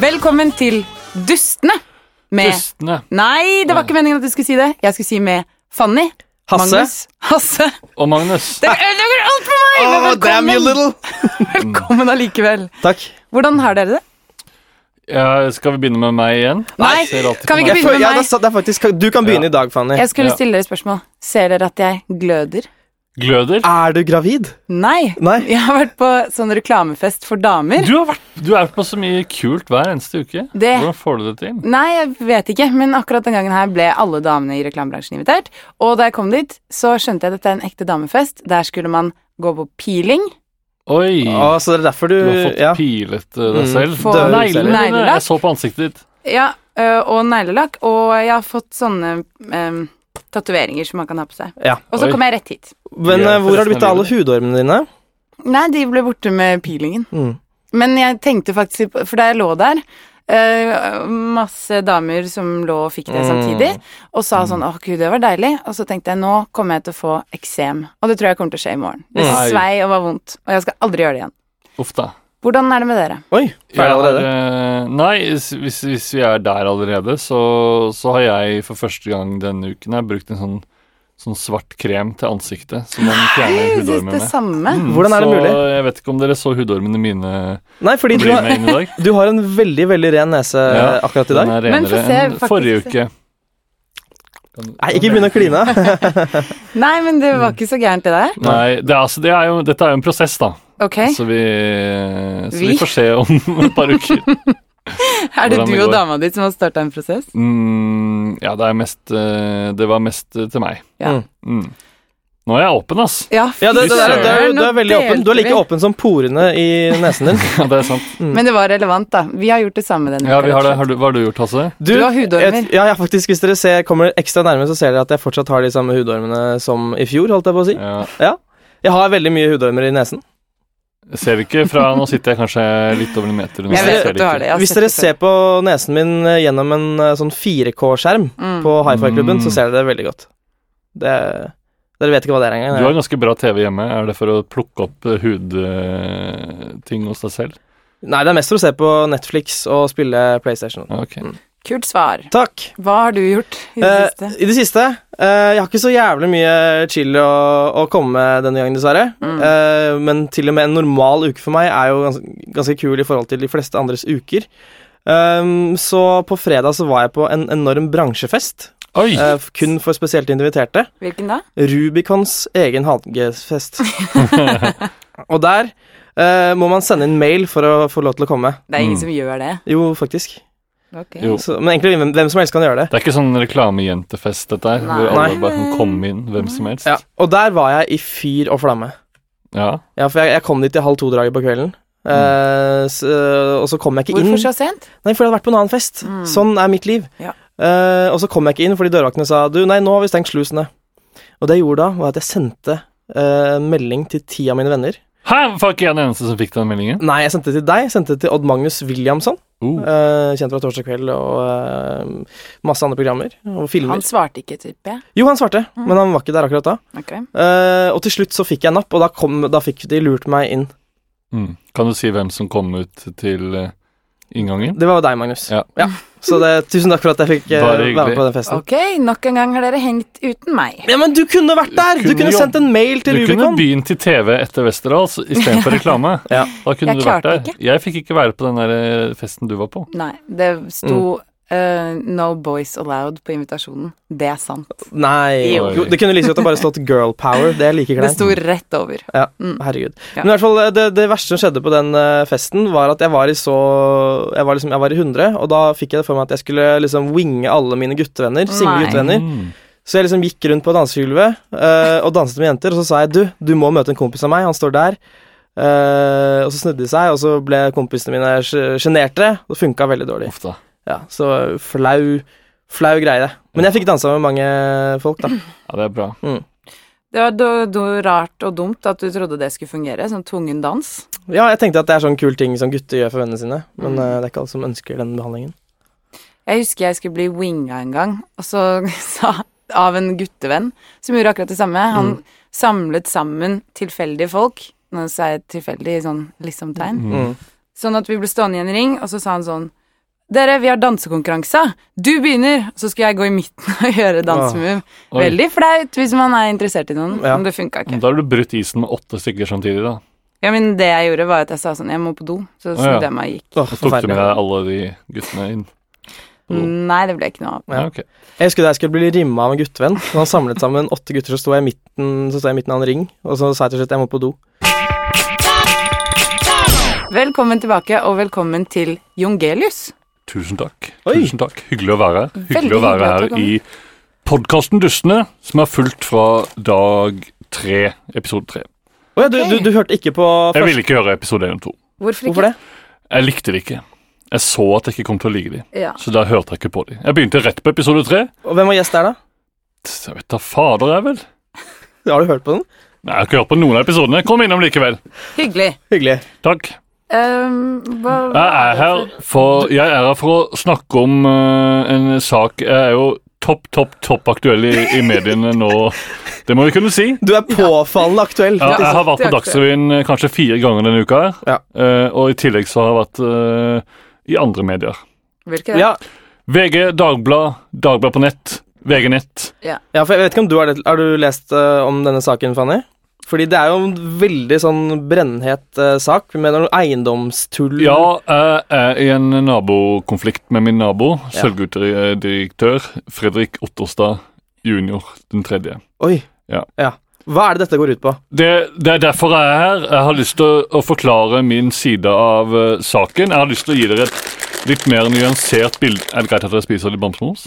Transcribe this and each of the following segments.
Velkommen til Dustene med Dustene. Nei, det var ikke meningen at du skulle si det. Jeg skulle si med Fanny. Hasse. Magnus. Hasse. Og Magnus. Det ødelegger alt for meg! Men Oh, damn you velkommen, little! velkommen allikevel. Takk. Hvordan har dere det? Ja, skal vi begynne med meg igjen? Nei, Jeg ser alltid kan vi ikke på meg. Jeg begynne føler, med ja, det meg? er, sant, det er faktisk, du kan begynne Ja. i dag, Fanny. Jeg skulle Ja. stille dere spørsmål. Ser dere at jeg gløder? Gløder? Er du gravid? Nei. Nei. Jeg har vært på sånn reklamefest for damer. Du har, vært, du har vært på så mye kult hver eneste uke. Det- Hvordan får du det til? Nei, jeg vet ikke, men akkurat den gangen her ble alle damene i reklamebransjen invitert. Og da jeg kom dit, så skjønte jeg at dette er en ekte damefest. Der skulle man gå på peeling. Oi, Å, så det er derfor du, Mm. du har fått ja. pilet eh, deg Mm, selv. få Døde neglene. neglene dine. Neglelakk. Jeg så på ansiktet ditt. Ja, ø, og neglelakk. Og jeg har fått sånne um, tatoveringer som man kan ha på seg. ja. Og så Oi. kom jeg rett hit. Men Ja, eh, hvor har du forresten blitt av av alle hudormene dine? Nei, de ble borte med peelingen. Mm. Men jeg tenkte faktisk på- For da jeg lå der ø, masse damer som lå og fikk det Mm. samtidig, og sa sånn 'Å, gud, det var deilig', og så tenkte jeg 'Nå kommer jeg til å få eksem', og det tror jeg kommer til å skje i morgen. Det Nei. svei og var vondt, og jeg skal aldri gjøre det igjen. Uff da. Hvordan er det med dere? Oi, ferdig Jeg allerede. har, eh, nei, s- hvis, hvis vi er der allerede, så, så har jeg for første gang denne uken her brukt en sånn, sånn svart krem til ansiktet. Som man fjerner Jeg synes hudormen det med. samme. Mm, Hvordan er det så mulig? Jeg vet ikke om dere så hudormene mine Nei, fordi du bli har, med inn i dag. du har en veldig, veldig ren nese eh, Ja. akkurat i Den dag. er Men få renere se, enn faktisk. forrige uke. Nei, ikke begynn å kline. Nei, men det Mm. var ikke så gærent, det der. Nei, det er, altså, det er jo, dette er jo en prosess, da. Ok, Så, vi, så vi? Eh? Vi? får se om et par uker. Er det hvordan det du og går. dama di som har starta en prosess? Mm, ja, det er mest eh, Det var mest eh, til meg. Ja. Mm. Nå er jeg åpen, ass. Ja, Ja, det, det, det, er- det, er- fy du er veldig søren, nå åpen. Du er like delte åpen som porene i nesen din. Ja, det er sant. vi. Men det var relevant, da. Vi har gjort det samme denne Ja, uka, vi har rett det. og Har du, hva har du gjort, Hasse? Du, har hudormer. et- Ja, ja, faktisk. Hvis dere ser, kommer ekstra nærme, så ser dere at jeg fortsatt har de samme hudormene som i fjor, holdt jeg på å si. Ja. Jeg har veldig mye hudormer i nesen. Ser vi ikke fra Nå sitter jeg kanskje litt over en meter unna. Jeg så vet ser at du har det, ja. Jeg har Hvis sett dere før. ser på nesen min eh, gjennom en eh, sånn 4K-skjerm Mm. på Hi-Fi-klubben, så Mm. ser dere det veldig godt. Det, dere vet ikke hva det er engang. Du har det er- ganske bra TV hjemme. Er det for å plukke opp eh, hudting hos deg selv? Nei, det er mest for å se på Netflix og spille PlayStation. Ja, Ok. slett. Kult svar. Takk. Hva har du gjort i det Eh, siste? I det siste eh, Jeg har ikke så jævlig mye chill å, å komme med denne gangen, dessverre. Mm. Eh, men til og med en normal uke for meg er jo ganske, ganske kul i forhold til de fleste andres uker. Um, så på fredag så var jeg på en enorm bransjefest, Oi! eh, f- kun for spesielt inviterte. Hvilken da? Rubicons egen hagefest. Og der eh, må man sende inn mail for å få lov til å komme. Det er ingen Mm. som gjør det. Jo, faktisk. Ok. Jo. Så, men egentlig hvem, hvem som helst kan gjøre det. Det er ikke sånn reklamejentefest, dette her, hvor Nei. alle bare kan komme inn, hvem som helst. Ja. Og der var jeg i fyr og flamme. Ja. Ja, for jeg, jeg kom dit i halv to-draget på kvelden. Eh, s- eh, og så kom jeg ikke inn Mm. Hvorfor så sent? Nei, fordi jeg hadde vært på en annen fest. Mm. Sånn er mitt liv. Ja. Eh, og så kom jeg ikke inn fordi dørvaktene sa du, nei, nå har vi stengt slusene. Og det jeg gjorde da, var at jeg sendte eh, en melding til ti av mine venner. Hæ, var ikke jeg den eneste som fikk den meldingen? Nei, jeg sendte det til deg. Sendte det til Odd Magnus Williamson. Mm. Oh. eh, kjent fra Torsdag kveld og eh, masse andre programmer og filmer. Han svarte ikke, tipper jeg. Jo, han svarte, men han var ikke der akkurat da. Mm. Ok. Eh, og til slutt så fikk jeg napp, og da, kom, da fikk de lurt meg inn. Mm. Kan du si hvem som kom ut til eh, inngangen? Det var jo deg, Magnus. Ja. Så det, tusen takk for at jeg fikk eh, Bare være hyggelig. med på den festen. ok, nok en gang har dere hengt uten meg. Ja, men du kunne vært der! Du Kunne kunne jobb- sendt en mail Du til kunne Rubicon. begynt i TV etter Westerdals istedenfor reklame. Ja. Da kunne Jeg du vært klarte der. Jeg fikk ikke være på den der eh, festen du var på. Nei, det Mm. sto eh, 'No boys allowed' på invitasjonen. Det er sant. Nei. Jo. Jo, det kunne like godt ha bare stått Girl Power. Det er like Det kleint. sto rett over. Ja, herregud. Ja. Men i hvert fall, eh, det, det verste som skjedde på den eh, festen, var at jeg var i så Jeg var liksom, jeg var i 100, og da fikk jeg det for meg at jeg skulle liksom winge alle mine guttevenner. Single Nei. guttevenner. Mm. Så jeg liksom gikk rundt på dansegulvet eh, og danset med jenter, og så sa jeg du, du må møte en kompis av meg, han står der. Eh, og så snudde de seg, og så ble kompisene mine sj- sjenerte. Det funka veldig dårlig. Uff da. Ja, så flau, flau greie. det. Men jeg fikk dansa med mange folk, da. Ja, det er bra. Det var do, do, rart og dumt at du trodde det skulle fungere, sånn tvungen dans. Ja, jeg tenkte at det er sånn kul ting som gutter gjør for vennene sine, men eh, det er ikke alle som ønsker den behandlingen. Jeg husker jeg skulle bli winga en gang, og så sa av en guttevenn som gjorde akkurat det samme. Han samlet sammen tilfeldige folk. Nå sa jeg tilfeldig i sånn liksom-tegn. Mm. Sånn at vi ble stående i en ring, og så sa han sånn Dere, vi har dansekonkurranse. Du begynner, så skal jeg gå i midten og gjøre dansemove. Oi. Mm. Veldig flaut hvis man er interessert i noen, Ja. men det funka ikke. Da har du brutt isen med åtte stykker samtidig, da. Ja, men det jeg gjorde, var at jeg sa sånn Jeg må på do. Så Å, ja. snudde jeg meg og gikk. Åh, Og tok du med forferdelig. deg alle de guttene inn? på do? Nei, det ble ikke noe av. Ja. Ja, ok. Jeg husker da jeg skulle bli rimma av en guttevenn. Så han samlet sammen åtte gutter, så sto jeg i midten, så sto jeg i midten av en ring, og så sa jeg til slutt jeg må på do. Velkommen tilbake, og velkommen til Jongelius. Tusen takk. Oi. Tusen takk. Hyggelig å være her. Hyggelig Veldig å være hyggelig at du her i podkasten Dustene, som er fulgt fra dag tre, episode tre. Å ja, du, du, du hørte ikke på Jeg første? ville ikke høre episode én og to. Hvorfor ikke? Hvorfor det? Jeg likte det ikke. Jeg så at jeg ikke kom til å like de, Ja. så da hørte jeg ikke på de. Jeg begynte rett på episode tre. Og hvem var gjest der, da? Jeg vet da fader, jeg vel. Har du hørt på den? Nei, jeg har ikke hørt på noen av episodene. Kom innom likevel. Hyggelig. Hyggelig. Takk. Ehm, hva Jeg er her for, jeg er her for å snakke om eh, en sak Jeg er jo topp, topp, topp aktuell i, i mediene nå. Det må vi kunne si. Du er påfallende aktuell. Ja, jeg har vært på det er Dagsrevyen eh, kanskje fire ganger denne uka. her, Ja. eh, Og i tillegg så har jeg vært eh, i andre medier. Hvilke da? Ja, VG, Dagblad, Dagblad på nett, VG Nett. ja, for jeg vet ikke om du har, det, har du lest eh, om denne saken, Fanny? Fordi det er jo en veldig sånn brennhet eh, sak med noe eiendomstull. Ja, jeg er i en nabokonflikt med min nabo, Ja. Sølvgutter-direktør Fredrik Otterstad junior den tredje. Oi. Ja. Hva er det dette går ut på? Det, det er derfor jeg er her. Jeg har lyst til å, å forklare min side av eh, saken. Jeg har lyst til å gi dere et litt mer nyansert bilde. Er det greit at dere spiser litt bamsemums?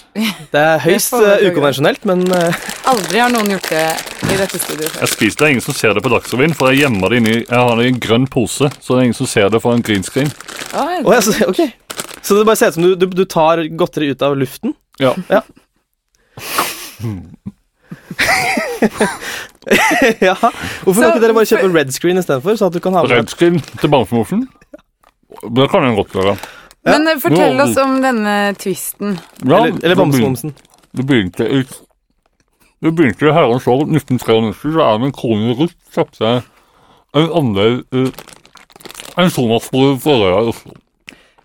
Det er høyst får være eh, greit. ukonvensjonelt, men eh, Aldri har noen gjort det i dette studioet før. Jeg spiser det, er ingen som ser det på Dagsrevyen, for jeg gjemmer det inni Jeg har det i en grønn pose, så det er ingen som ser det for en green screen. Oi, Å, ja, så- ok. Så det bare ser ut som du, du, du tar godteri ut av luften? Ja. ja. Hvorfor Så- kan ikke dere bare kjøpe red screen istedenfor? Så at du kan ha med Red screen til bamsemumsen. Det kan en godt være. Men eh, fortell Wow. oss om denne tvisten. Ja, Eller, eller det begyn- bamsemomsen. Det begynte i Det begynte i herrens år 1993, så Erlend Krohn Ruth kjøpte en andel i en Sonas-bolig på Røa i Oslo.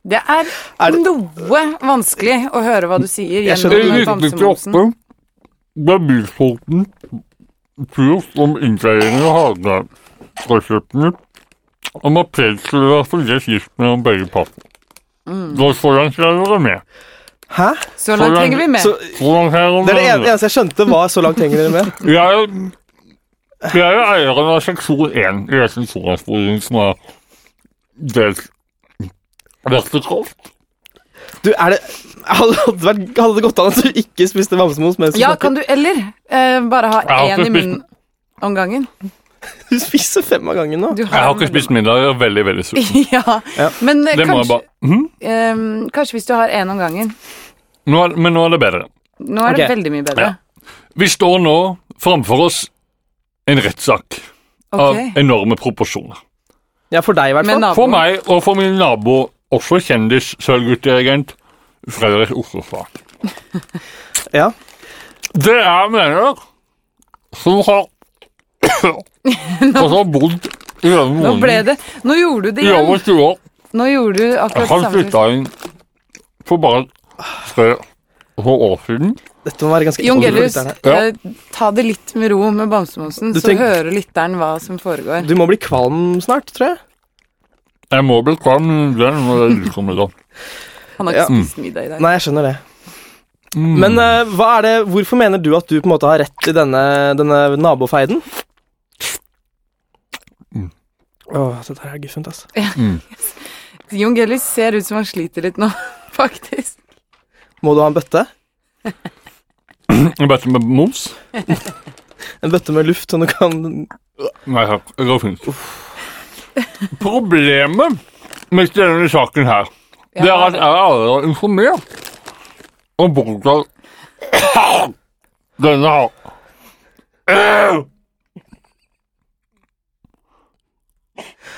Det er, Er det- noe vanskelig å høre hva du Jeg sier gjennom skjønner. I den bamsemumsen. 1998 ble bilsporten kurs om innleiing av hagereseptene, og Marpel skulle være felles gift mellom begge partene. Mm. Da så langt jeg være med. Hæ? Så langt henger vi med. Så, Så langt jeg det er det være en- med. eneste jeg skjønte, var så langt henger dere med. Jeg jeg er eieren av seksjon 1 i Essensorasboligen, som er dels vertikalt. Du, er det Hadde hadde det vært, hadde det gått an at du ikke spiste bamsemums mens du Ja, snakket? kan du eller eh, bare ha Jeg har én ikke i munnen om gangen? Du spiser fem av gangen nå. Du Jeg har ikke spist middag, jeg er veldig, veldig sulten. Ja, Ja. men eh, Det må jeg kanskje, bare Mhm. eh, kanskje hvis du har én om gangen. nå er, Men nå er det bedre. Nå er det Ok. veldig mye bedre. Vi står nå framfor oss en rettssak Ok. av enorme proporsjoner. Ja, for deg i hvert Med fall. For naboen. meg og for min nabo, også kjendis sølvguttdirigent Fredrik Oslofar. Ja. Det er mener som har altså bodd i denne Nå ble måneden det Nå gjorde du det i over igjen. 20 år. Nå gjorde du akkurat Han det samme. flytta inn for bare tre få år siden. Dette må være ganske Jon ekkelt for Gelius, lytterne. Ja. eh, ta det litt med ro med bamsemumsen, Du så tenk- hører lytteren hva som foregår. Du må bli kvalm snart, tror jeg. Jeg må bli kvalm den når jeg lyser med den. Han har Ja. ikke spist middag i dag. Nei, jeg skjønner det. Men eh, hva er det, hvorfor mener du at du på en måte har rett i denne, denne nabofeiden? Mm. Åh, det der er guffent, altså. Jon Gellis ser ut som han sliter litt nå, faktisk. Må du ha en bøtte? Mm. Jeg vet med moms. En bøtte med luft, sånn du kan Nei takk, det går fint. Problemet med denne saken her, det er at jeg er allerede informert om hvordan denne har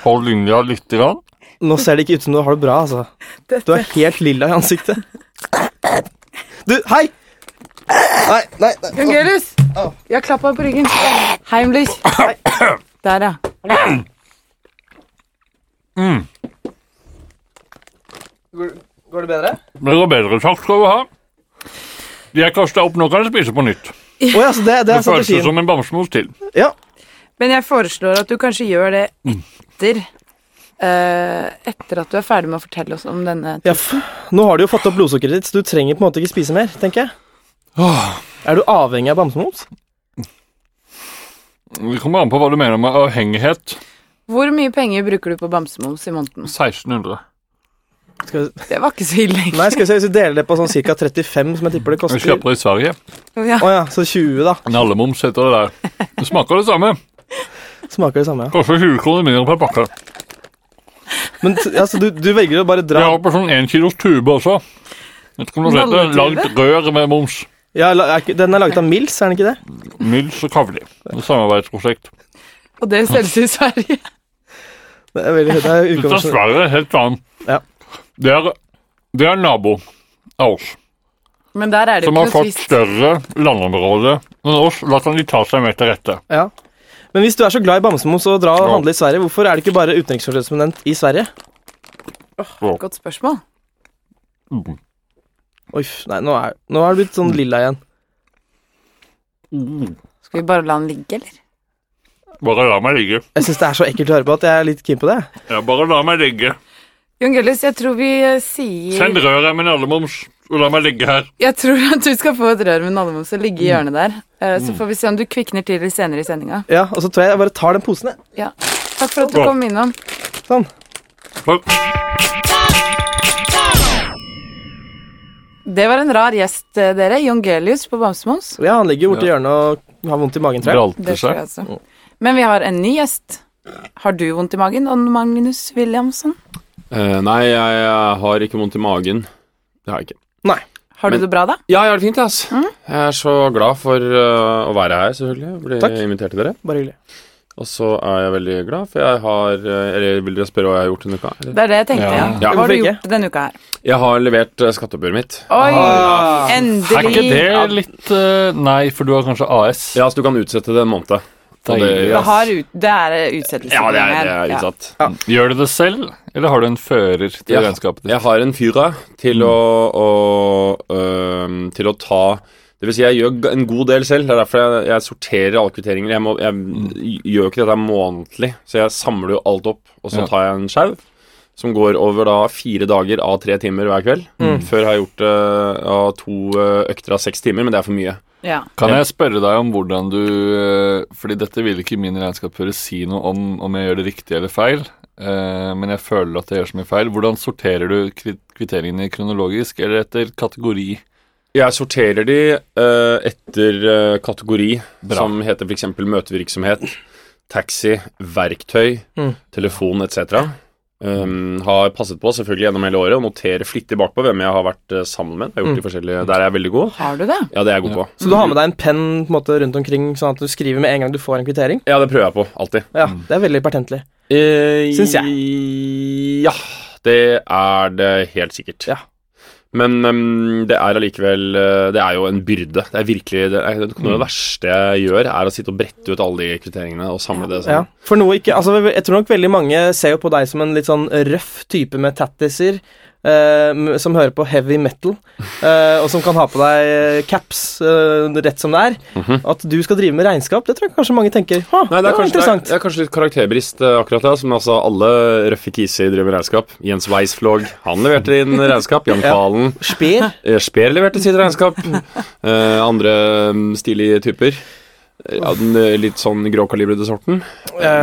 Hold linja litt. Grann. Nå ser det ikke ut som du har det bra, altså. Du er helt lilla i ansiktet. Du, hei! Nei, nei, nei. Jon Gellis! Jeg klappa på ryggen. Heimlich. Der, ja. Går, Går det bedre? Det går bedre. Takk skal du ha. Jeg kasta opp. Nå kan jeg spise på nytt. Å ja, så det, det Det er føles strategien. som en bamsemos til. Ja. Men jeg foreslår at du kanskje gjør det etter eh, Etter at du er ferdig med å fortelle oss om denne Ja, f Nå har du jo fått opp blodsukkeret ditt, så du trenger på en måte ikke spise mer, tenker jeg. Er du avhengig av bamsemums? Det kommer an på hva du mener med avhengighet. Hvor mye penger bruker du på bamsemums i måneden? 1600. Skal vi, Det var ikke så ille, egentlig. nei, skal vi se, hvis vi deler det på sånn ca. 35, som jeg tipper det Jeg koster Å kjøper det i Sverige. Ja. ja, så 20, da. Nallemoms heter det der. Det smaker det samme. Smaker det samme, ja. Koster 20 kroner mindre per pakke. Men t- altså, du, du velger å bare Jeg dra har på sånn 1 kilos tube også. Vet ikke om du har sett det. Nalletube? Lagd rør med moms. ja, la- er ikke- Den er laget av Mills, er den ikke det? Mils og kavli. Et samarbeidsprosjekt. Og det selges i Sverige. Det er veldig det er Dette er utgangspunkt- Sverige, helt annet. Ja. Det er, det er nabo av oss, Men der er det jo som ikke har noe fått twist. større landområde enn oss. Da kan de ta seg mer til rette. Ja. Men hvis du er så glad i bamsemums og dra og Ja. handle i Sverige, hvorfor er du ikke bare utenrikskorrespondent i Sverige? Godt spørsmål. Oi, f- nei, nå er, nå er det blitt sånn lilla igjen. Skal vi bare la den ligge, eller? Bare la meg ligge. Jeg syns det er så ekkelt å høre på at jeg er litt keen på det. Ja, bare la meg ligge. Jon Gullis, jeg tror vi eh, sier Send røret med nallemoms, og la meg ligge her. Jeg tror at du skal få et rør med nallemoms og ligge i hjørnet der. Eh, Så får vi se om du kvikner til litt senere i sendinga. Ja, Og så tror jeg jeg bare tar den posen, jeg. Ja. Takk for at du Bra. kom innom. Sånn. Takk. Det var en rar gjest, eh, dere. Jon Gelius på Bamsemons. Ja, han ligger jo borti hjørnet og har vondt i magen, tror jeg. Bralte Det tror jeg seg. altså. Men vi har en ny gjest. Har du vondt i magen, Odd Magnus Williamson? Eh, nei, jeg, jeg har ikke vondt i magen. Det har jeg ikke. Har du Men- det bra, da? Ja, jeg har det fint, ass. Jeg er så glad for eh, å være her, selvfølgelig. og Bli Takk. invitert til dere. Bare hyggelig. Og så er jeg veldig glad, for jeg har eh, Eller vil dere spørre hva jeg har gjort denne uka? Eller? Det er det jeg tenkte, ja. Ja. Ja. Hva har Hvorfor du ikke? gjort denne uka her? Jeg har levert eh, skatteoppgjøret mitt. Oi! Ah. Endelig. Er ikke det litt eh, Nei, for du har kanskje AS. Ja, så du kan utsette det en måned. Og Deilig. det- Det, har ut, det er utsettelse. Ja, det er, her. det er Ja. utsatt. Gjør du det selv, eller har du en fører til Ja. regnskapet ditt? Jeg har en fyr da, til å, å øhm, til å ta det vil si, jeg gjør g- en god del selv. Det er derfor jeg, jeg sorterer alle kvitteringer. Jeg, må, jeg Mm. gjør jo ikke dette månedlig, så jeg samler jo alt opp. Og så Ja. tar jeg en skjerv som går over da fire dager av tre timer hver kveld. Mm. Før har jeg gjort det av to øh, økter av seks timer, men det er for mye. Ja. Kan Ja. jeg spørre deg om hvordan du eh, Fordi dette vil ikke min regnskapsfører si noe om om jeg gjør det riktig eller feil, eh, men jeg føler at jeg gjør så mye feil. Hvordan sorterer du kvi- kvitteringene kronologisk eller etter kategori? Jeg sorterer de eh, etter eh, kategori, Bra. som heter f.eks. møtevirksomhet, taxi, verktøy, Mm. telefon etc. Um, har passet på selvfølgelig gjennom hele året og noterer flittig bakpå hvem jeg har vært eh, sammen med. Jeg har gjort de forskjellige, Der er jeg veldig god. Har du det? Ja, det er jeg god på. Mm. Mm. Så du har med deg en penn på en måte rundt omkring, sånn at du skriver med en gang du får en kvittering? Ja, det prøver jeg på. Alltid. Ja, Det er veldig pertentlig. Uh, Syns jeg. Ja, det er det helt sikkert. Ja. Men um, det er allikevel eh, Det er jo en byrde. Det er virkelig det, er, det, Mm. noe av det verste jeg gjør, er å sitte og brette ut alle de kvitteringene og samle det Ja. sammen. For noe ikke Altså, jeg tror nok veldig mange ser jo på deg som en litt sånn røff type med tattiser. eh, m- som hører på heavy metal, eh, og som kan ha på deg eh, caps eh, rett som det er. At du skal drive med regnskap, det tror jeg kanskje mange tenker. Ha, Mhm. Nei, det er, kanskje, det, er, interessant. det er kanskje litt karakterbrist eh, akkurat det, som altså alle røffe kiser driver med regnskap. Jens Weisflog, han leverte inn regnskap. Jan Ja. Mm. Falen, Sper. eh, Speer leverte sitt regnskap. Eh, andre mm, stilige typer. Eh, Av den eh, litt sånn gråkalibrede sorten.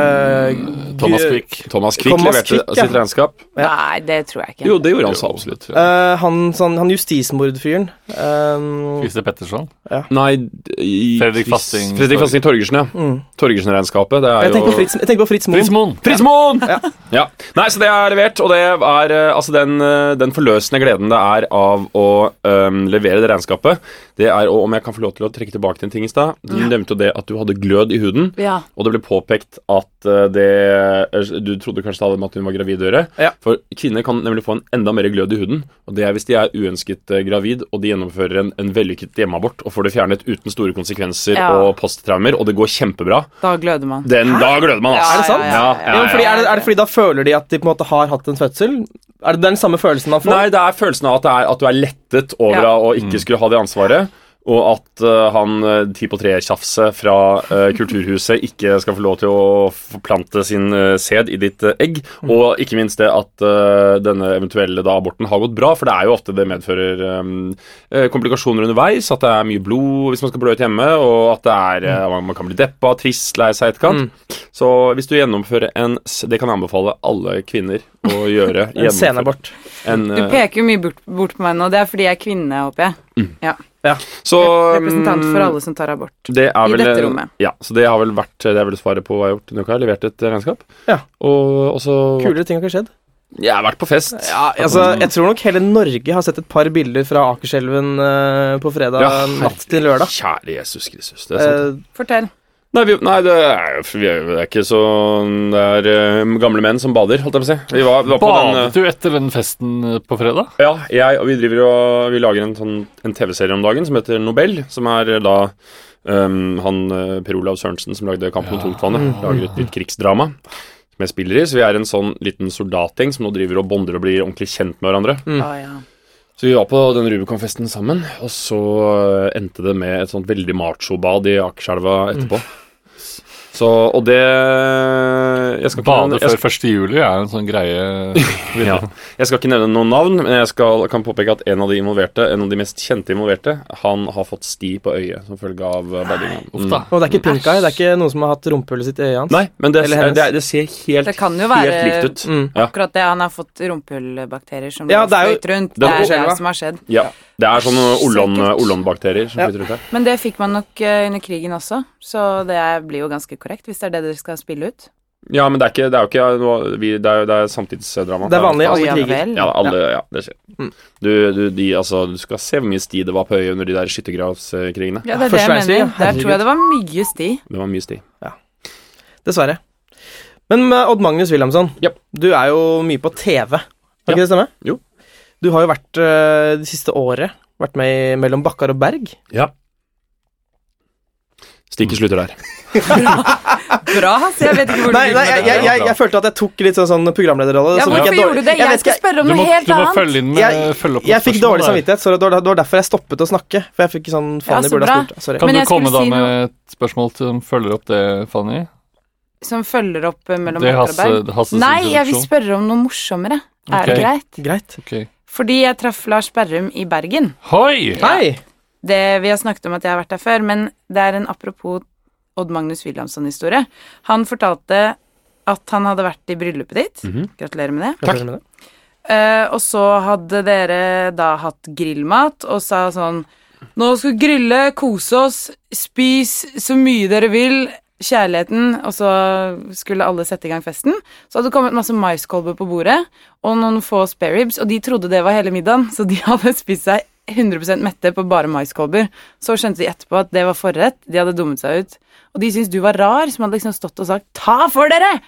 eh, Thomas gu- Quick. Mm, Thomas Quick Thomas leverte Quick, ja. sitt regnskap. Nei, det tror jeg ikke. Jo, det gjorde han så absolutt. eh, han sånn, han justismordfyren. eh, Christer Petterson. Nei d- i, Fredrik Fasting- Fredrik Fasting Torgersen, ja. Mm. Torgersen-regnskapet. Det er jeg, tenker jo på Fritz, jeg tenker på Fritz Moen. Fritz Moen! Fritz Moen! Ja. Ja. Nei, så det er levert, og det er eh, altså den, eh, den forløsende gleden det er av å ehm, levere det regnskapet. Det er, og om jeg kan få lov til å trekke tilbake til en ting i stad Du nevnte jo det at du hadde glød i huden, Ja. og det ble påpekt at eh, det eh, Du trodde kanskje det hadde med at hun var gravid å gjøre, Ja. for kvinner kan nemlig få en enda mer glød i huden, og det er hvis de er uønsket eh, gravid, og de gjennomfører en, en vellykket hjemmeabort og får det fjernet uten store konsekvenser Ja. og posttraumer, og det går kjempebra. Da gløder man. Den, da gløder man, ass. Er det sant? Ja, ja, Ja, men ja. fordi, er, det, er det fordi da føler de at de på en måte har hatt en fødsel? Er det, det er den samme følelsen man får? Nei, det er følelsen av at, det er, at du er lettet over Ja. å ikke skulle ha det ansvaret. Og at eh, han eh, ti på tre-tjafset fra eh, Kulturhuset ikke skal få lov til å forplante sin eh, sæd i ditt eh, egg. Og ikke minst det at eh, denne eventuelle da, aborten har gått bra, for det er jo ofte det medfører eh, eh, komplikasjoner underveis. At det er mye blod hvis man skal blø ut hjemme, og at det er, eh, man- man kan bli deppa, trist, lei seg i etterkant. Så hvis du gjennomfører en s- Det kan jeg anbefale alle kvinner å gjøre. En senabort. En, Du eh, peker jo mye bort, bort på meg nå. Det er fordi jeg er kvinne, håper jeg. Ja. så, Representant mm. for alle som tar abort. det er i vel, dette rommet. Ja, så det har vel vært det er vel svaret på hva jeg har gjort denne uka. Jeg har levert et eh, regnskap. Ja. Og også Kulere ting har ikke skjedd. Jeg har vært på fest. Ja, altså, jeg tror nok hele Norge har sett et par bilder fra Akerselven eh, på fredag Ja, natt til lørdag. Kjære Jesus Kristus. Det er sant. Eh, Fortell. Nei, vi, nei det, er, jo- vi er, jo- det er ikke så Det er eh, gamle menn som bader, holdt jeg på å si. Vi var, vi var på den eh, Badet du etter den festen eh, på fredag? Ja, jeg og vi driver og Vi lager en, sånn, en TV-serie om dagen som heter Nobel, som er eh, da ehm, han eh, Per Olav Sørensen som lagde Kamp mot tungtvannet, lager et nytt krigsdrama som jeg spiller i. Så vi er en sånn liten soldatgjeng som nå driver og bonder og blir ordentlig kjent med hverandre. Mm. Å, Ah, ja. Så vi var på den Rubicon-festen sammen, og så eh, endte det med et sånt veldig macho-bad i Akerselva etterpå. Så, og det Jeg skal ikke Bade jeg før 1. juli er en sånn greie ja. Jeg skal ikke nevne noen navn, men jeg skal, kan påpeke at en av de involverte, en av de mest kjente involverte, han har fått sti på øyet som følge av eh, badinga. Uff da. og det er ikke pink eye, det er ikke noen som har hatt rumpehullet sitt i øyet hans. Mm. Nei, men det, Eller det, hennes. det, ser helt, Det kan jo helt være- likt ut. Mm. Ja. Akkurat det. Han har fått rumpehullbakterier som Ja, det er jo- flyter rundt. det Det er er det forskjellig, da. som har skjedd. Ja. Det er sånne Olon- Sikkert. Olon-bakterier som Ja. flyter ut her. Men det fikk man nok eh, under krigen også, så det er- blir jo ganske korrekt hvis det er det dere skal spille ut. Ja, men det er, ikke, det er jo ikke noe vi, det, er, jo- det er samtidsdrama. Det er vanlig i Å, alle ja kriger. vel. Ja, alle, ja, det skjer. Mm. Du, du, de, altså, du skal se hvor mye sti det var på øyet under de der skyttergravskrigene. Ja, det er det Første jeg verdenskrig, mener. ja. Der tror jeg det var mye sti. Det var mye sti. Dessverre. Men eh, Odd Magnus Wilhelmsson, Japp. du er jo mye på TV. Har ikke det stemme? Jo. Du har jo vært eh, det siste året vært med i Mellom Bakkar og Berg. Ja. Stikket slutter der. Bra, ass. Jeg vet ikke hvor Nei, nei jeg, du vil med det. jeg, jeg, jeg følte at jeg tok litt sånn, sånn programlederrolle. Ja, som hvorfor ikke er dårlig- gjorde du det? Jeg, vet ikke, skal spørre om Du noe må, helt du må annet. følge inn med Jeg- følge opp jeg fikk dårlig spørsmålet her. samvittighet, så det var det var derfor jeg stoppet å snakke. For jeg fikk sånn Faen, Ja, jeg så burde ha bra. spurt. Sorry. Men Kan du jeg komme skulle da si med et spørsmål til- som følger opp det, Fanny? Som følger opp eh, mellom Det er Bakker og Hasse, Berg. Hasses Nei, jeg vil introduksjon. spørre om noe morsommere. Er det Ok. greit? Greit. Ok. Fordi jeg traff Lars Berrum i Bergen. Hoi! Hei! det, Vi har snakket om at jeg har vært der før, men det er en apropos Odd Magnus Wilhelmsson-historie. Han fortalte at han hadde vært i bryllupet ditt. Gratulerer med det. Takk. Med det. Eh, og så hadde dere da hatt grillmat og sa sånn Nå skal vi grille, kose oss, spis så mye dere vil. Kjærligheten, og så skulle alle sette i gang festen. Så hadde det kommet masse maiskolber på bordet og noen få spareribs, og de trodde det var hele middagen, så de hadde spist seg 100 mette på bare maiskolber. Så skjønte de etterpå at det var forrett, de hadde dummet seg ut. Og de syntes du var rar, som hadde liksom stått og sagt 'ta for dere'!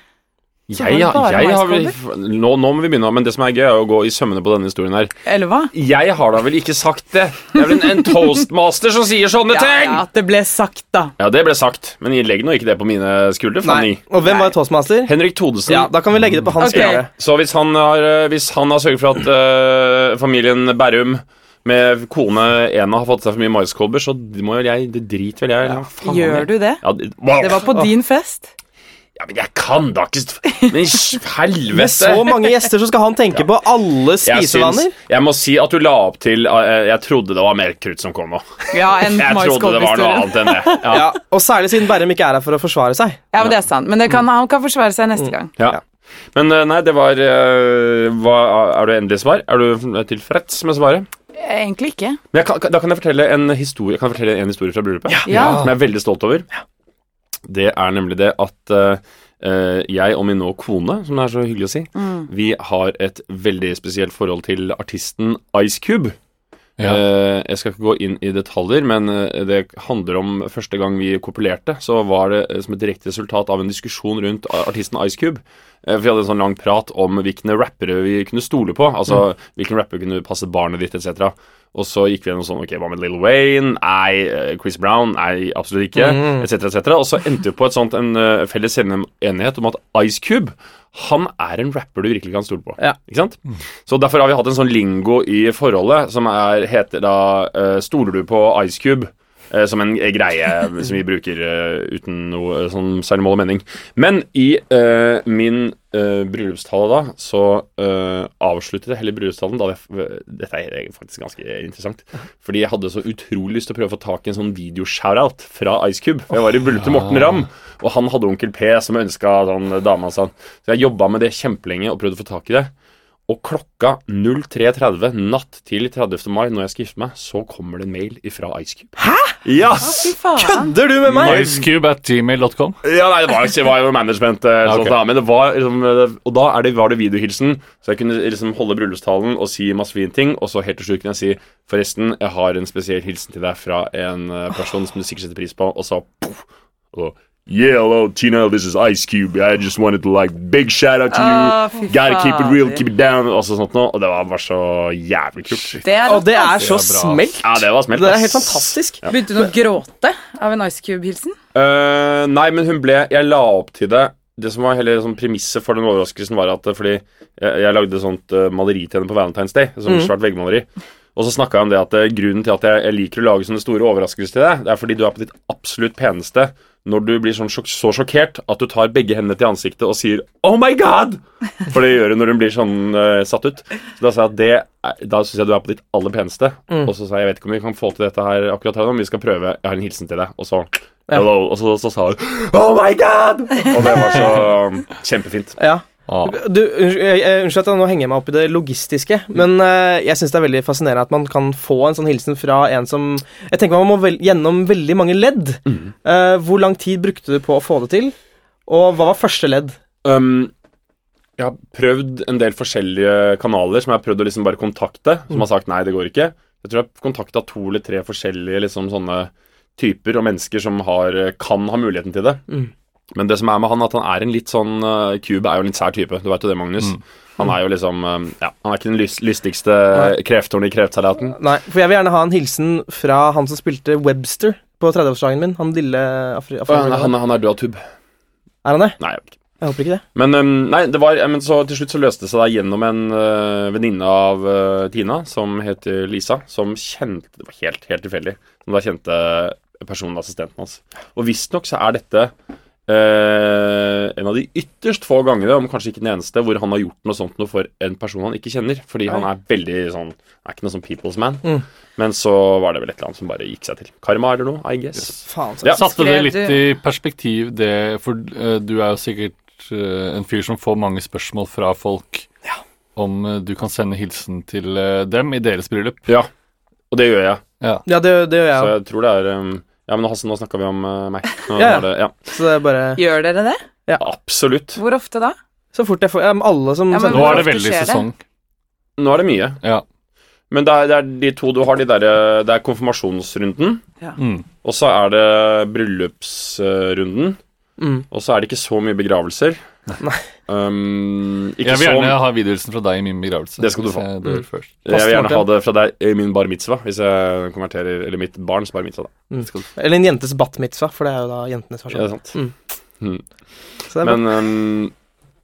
Så Jeg, var det bare jeg har vel, maiskolber? nå, nå må vi begynne, men det som er gøy, er å gå i sømmene på denne historien her. Eller hva? Jeg har da vel ikke sagt det? Det er vel en, en toastmaster som sier sånne Ja, ting! ja, at det ble sagt, da. Ja, det ble sagt, men jeg legger nå ikke det på mine skuldre, Fanny. Nei. Og hvem var toastmaster? Henrik Thodesen. Ja, da kan vi legge det på hans Ok. skuldre. Så hvis han har, eh, hvis han har sørget for at eh, familien Berrum med kone Ena har fått seg for mye maiskolber, så det må vel jeg Det driter vel jeg. Ja, faen, Gjør du det? Ja, det, wow. Det var på din fest. ja, men jeg kan da ikke st- Men sj- Med så helvete! mange gjester så skal han tenke på alle Jeg, syns, spisevaner. jeg må si at du la opp til eh, Jeg trodde det var mer krutt som kom nå. Ja, en Jeg trodde det var noe maiskolbehistorie. annet enn det. Ja. Ja, og særlig siden Berrum ikke er her for å forsvare seg. Ja, men det er sant. Men det kan, han kan forsvare seg neste gang. Ja. Men eh, nei, det var eh, hva, Er du endelig svar? Er du tilfreds med svaret? Egentlig ikke. Men jeg kan, kan- da kan jeg fortelle en historie, kan jeg fortelle en historie fra bryllupet Ja. som jeg er veldig stolt over. Det er nemlig det at eh, eh, jeg og min nå kone, som det er så hyggelig å si, Mm. vi har et veldig spesielt forhold til artisten Ice Cube. Ja. Eh, jeg skal ikke gå inn i detaljer, men eh, det handler om første gang vi kopulerte, så var det eh, som et direkte resultat av en diskusjon rundt a- artisten Ice Cube. Eh, for vi hadde en sånn lang prat om hvilke rappere vi kunne stole på. Altså hvilken rapper kunne passe barnet ditt, etc. Og så gikk vi gjennom sånn Ok, hva med Lil Wayne? Nei. eh, Chris Brown? Nei, absolutt ikke. Etc., etc. Og så endte vi på et sånt en eh, felles enig- enighet om at Ice Cube Han er en rapper du virkelig kan stole på. Ja. Ikke sant? Så derfor har vi hatt en sånn lingo i forholdet som er, heter da eh, Stoler du på Ice Cube? Eh, som en eh, greie som vi bruker eh, uten noe eh, sånn særlig mål og mening. Men i eh, min eh, bryllupstale da, så eh, avsluttet jeg hele bryllupstalen da jeg, Dette er faktisk ganske interessant. Fordi jeg hadde så utrolig lyst til å prøve å få tak i en sånn videoshoutout fra Ice Cube. For jeg var i bryllupet til Morten Ramm, og han hadde onkel P som ønska sånn dama sånn. Så jeg jobba med det kjempelenge og prøvde å få tak i det. Og klokka 03.30 natt til 30. mai, når jeg skal gifte meg, så kommer det en mail ifra Ice Cube. Hæ? Ja! Fy faen. Kødder du med meg?! Icecube at gmail.com. ja nei, det var, det var jo management, eh, sånt, ok. da, men det var liksom eh, Og da er det, var det videohilsen, så jeg kunne liksom holde bryllupstalen og si masse fine ting, og så helt til slutt kunne jeg si Forresten, jeg har en spesiell hilsen til deg fra en eh, person som du sikkert setter pris på, og så poff, og Yeah, hello, Tino, this is Ice Cube. I just wanted to like big shout out to Å, fy you. Gotta keep it real, fader. keep it down. Og så sånt noe. Og det var bare så jævlig kult. Det er Og det er altså. så smelt. Ja, det var smelt. Det er ass. helt fantastisk. Begynte hun å gråte av en Ice Cube-hilsen? Eh, nei, men hun ble Jeg la opp til det. Det som var hele sånn, premisset for den overraskelsen, var at eh, fordi jeg, jeg lagde sånt eh, maleri til henne på Valentine's Day. Sånn svært veggmaleri. Og så snakka jeg om det at eh, grunnen til at jeg, jeg liker å lage sånne store overraskelser til deg, det er fordi du er på ditt absolutt peneste når du blir sånn sjokk, så sjokkert at du tar begge hendene til ansiktet og sier 'Oh my God!' For det gjør hun når hun blir sånn eh, satt ut. Så da sa jeg at det er, da syns jeg du er på ditt aller peneste. Og så sa jeg 'Jeg vet ikke om vi kan få til dette her akkurat her nå, men vi skal prøve. Jeg har en hilsen til deg.' Og så Hello. Og så, så sa hun 'Oh my God!' Og det var så um, kjempefint. Ja. Ah. Du, unnskyld, jeg- jeg- unnskyld at jeg nå henger jeg meg opp i det logistiske, men eh, jeg syns det er veldig fascinerende at man kan få en sånn hilsen fra en som Jeg tenker Man må vel, gjennom veldig mange ledd. Eh, hvor lang tid brukte du på å få det til? Og hva var første ledd? Um, jeg har prøvd en del forskjellige kanaler som jeg har prøvd å liksom bare kontakte, som har sagt nei, det går ikke. Jeg tror jeg har kontakta to eller tre forskjellige liksom sånne typer og mennesker som har, kan ha muligheten til det. Mm. Men det som er med han, at han er en litt sånn eh, Cube er jo en litt sær type, du veit jo det, Magnus. Han er jo liksom eh, Ja, han er ikke den lys lystigste krefthornet i kreftsalaten. Nei, for jeg vil gjerne ha en hilsen fra han som spilte Webster på 30-årsdagen min. Han lille afri... afri Han, er- han, er- han er død av tubb. er han det? Nei, jeg vet ikke. Jeg håper ikke det. Men, øhm, nei, det var, ja, men så til slutt så løste det seg da gjennom en øh, venninne av øh, Tina, som heter Lisa, som kjente Det var helt, helt tilfeldig. Som da kjente personen assistenten hans. Og visstnok så er dette øh, en av de ytterst få gangene, om kanskje ikke den eneste, hvor han har gjort noe sånt noe for en person han ikke kjenner. Fordi han er veldig sånn Han er ikke noe sånn people's man. Mm. Men så var det vel et eller annet som bare gikk seg til. Karma eller noe, I guess. Faen, så. Ja. Satte det Skrev litt du- i perspektiv, det For eh, du er jo sikkert eh, en fyr som får mange spørsmål fra folk om eh, du kan sende hilsen til eh, dem i deres bryllup. Ja. Og det gjør jeg. Ja, det, det gjør jeg Så òg. jeg tror det er øhm, Ja, men Hasse, nå snakka vi om øh, meg. Nå Ja, ja. var det, ja. Så det er bare Gjør dere det? Absolutt. Hvor ofte da? Så fort jeg får ja, men Alle som Ja, Nå men sender hvor er det ofte veldig skjer det? sesong. Nå er det mye. Ja. Men det er, det er de to du har. De der, eh, det er konfirmasjonsrunden, Mm. og så er det bryllupsrunden. mm. Og så er det ikke så mye begravelser. Nei. Um, ikke Jeg vil så gjerne ha videohilsen fra deg i min begravelse. Det skal du hvis få. Mm. jeg dør først. Jeg vil gjerne Martin. ha det fra deg i min bar mitzvah, hvis jeg konverterer Eller mitt barns bar mitzvah, da. Eller en jentes bat mitzvah, for det er jo da jentenes Ja, det versjon. er sant. Mm. Hmm. Mm. Så det er bra. Men um,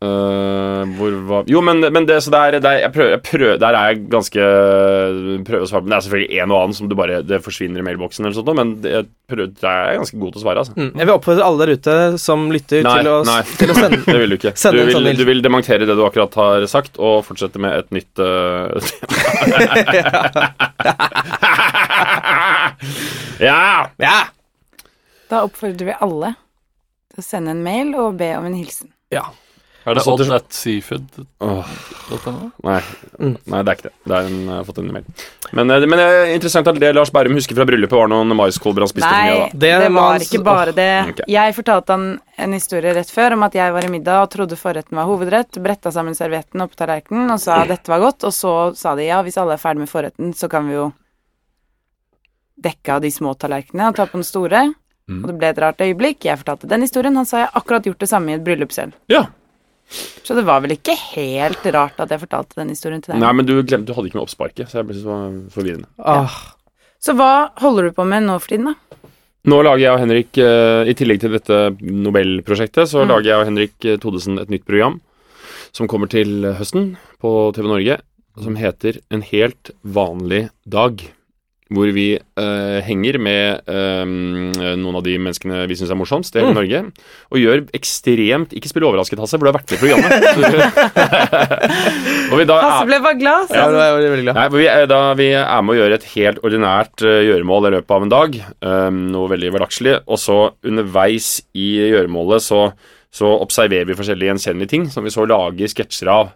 øh, hvor var Jo, men, men det, så der, der, jeg prøver, jeg prøver, der er jeg ganske øh, Prøver å svare på Men det er selvfølgelig en og annen som du bare Det forsvinner i mailboksen, eller sånt, noe, men det, jeg prøver, der er jeg ganske god til å svare, altså. mm. Jeg vil oppfordre alle der ute som lytter, Nei, til å, nei. til å sende Det vil du ikke. Send du, en vil, sånn hilsen. du vil dementere det du akkurat har sagt, og fortsette med et nytt eh, Ja! Ja! Da oppfordrer vi alle til å sende en mail og be om en hilsen. Er det Så odd til- at seafood? Åh, .no? nei. Mm. nei, det er ikke det. Det er en, jeg har fått en mail. Men, eh, men eh, interessant at det Lars Bærum husker fra bryllupet, var noen maiskolber han spiste for mye Nei, av. da. Det det, må han var s- ikke bare det. Mm, ok. Jeg fortalte han en historie rett før om at jeg var i middag og trodde forretten var hovedrett, bretta sammen servietten oppå tallerkenen og sa dette var godt, og så sa de ja, hvis alle er ferdig med forretten, så kan vi jo dekke av de små tallerkenene og ta på den store. Mm. Og det ble et rart øyeblikk. Jeg fortalte den historien. Han sa jeg har akkurat gjort det samme i et bryllup selv. Ja. Så det var vel ikke helt rart at jeg fortalte den historien til deg. Nei, men du glemte, du hadde ikke med oppsparket, så jeg ble så forvirrende. Åh. Så hva holder du på med nå for tiden, da? Nå lager jeg og Henrik, Mm. eh, i tillegg til dette Nobelprosjektet, så lager jeg og Henrik eh, Thodesen et nytt program som kommer til høsten på TV Norge, som heter En helt vanlig dag. Hvor vi eh, henger med eh, noen av de menneskene vi syns er morsomst i Mm. hele Norge. Og gjør ekstremt Ikke spill overrasket, Hasse, for du har vært med i programmet. og vi da er- Hasse ble bare glad. så- Ja, det var jeg veldig glad. Nei, for vi er, da, vi er med å gjøre et helt ordinært eh, gjøremål i løpet av en dag. eh, noe veldig hverdagslig. Og så underveis i gjøremålet så, så observerer vi forskjellige gjenkjennelige ting som vi så lager sketsjer av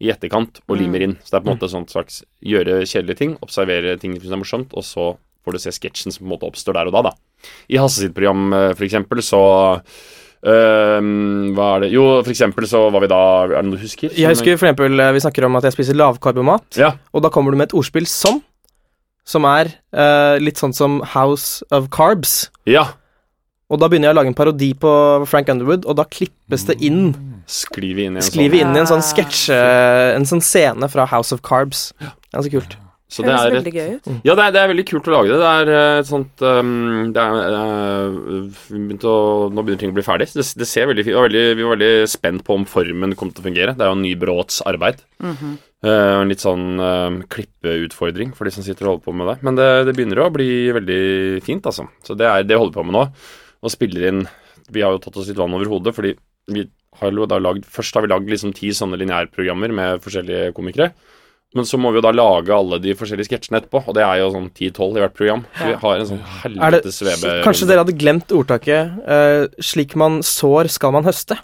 i etterkant og limer inn. Så det er på en måte sånn slags gjøre kjedelige ting, observere ting som er morsomt, og så får du se sketsjen som på en måte oppstår der og da, da. I Hasse sitt program, eh, for eksempel, så eh, hva er det Jo, for eksempel så var vi da Er det noe du husker? Jeg husker for eksempel eh, vi snakker om at jeg spiser lavkarbomat, Ja. og da kommer du med et ordspill som, som er eh, litt sånn som House of Carbs. ja. Og da begynner jeg å lage en parodi på Frank Underwood, og da klippes det Mm. inn. Sklive inn i en sånn Skriver inn i en sånn sketsj, eh, en sånn scene fra House of Carbs. Ganske kult. Så Det det høres er veldig gøy ut. Mm. Ja, det er, det er veldig kult å lage det. Det er eh, et sånt ehm, det er, eh, vi begynte å, Nå begynner ting å bli ferdig. Det, det ser veldig fint Vi var veldig, vi var veldig spent på om formen kom til å fungere. Det er jo Nybråts arbeid. Eh, og en litt sånn ehm, klippeutfordring for de som sitter og holder på med det. Men det, det begynner å bli veldig fint, altså. Så det er det vi holder på med nå. Og spiller inn Vi har jo tatt oss litt vann over hodet, fordi vi har jo da lagd Først har vi lagd liksom ti sånne lineærprogrammer med forskjellige komikere. Men så må vi jo da lage alle de forskjellige sketsjene etterpå, og det er jo sånn 10-12 i hvert program. Så vi har en sånn Er det, helvetes VB. kanskje dere hadde glemt ordtaket eh, 'slik man sår, skal man høste'?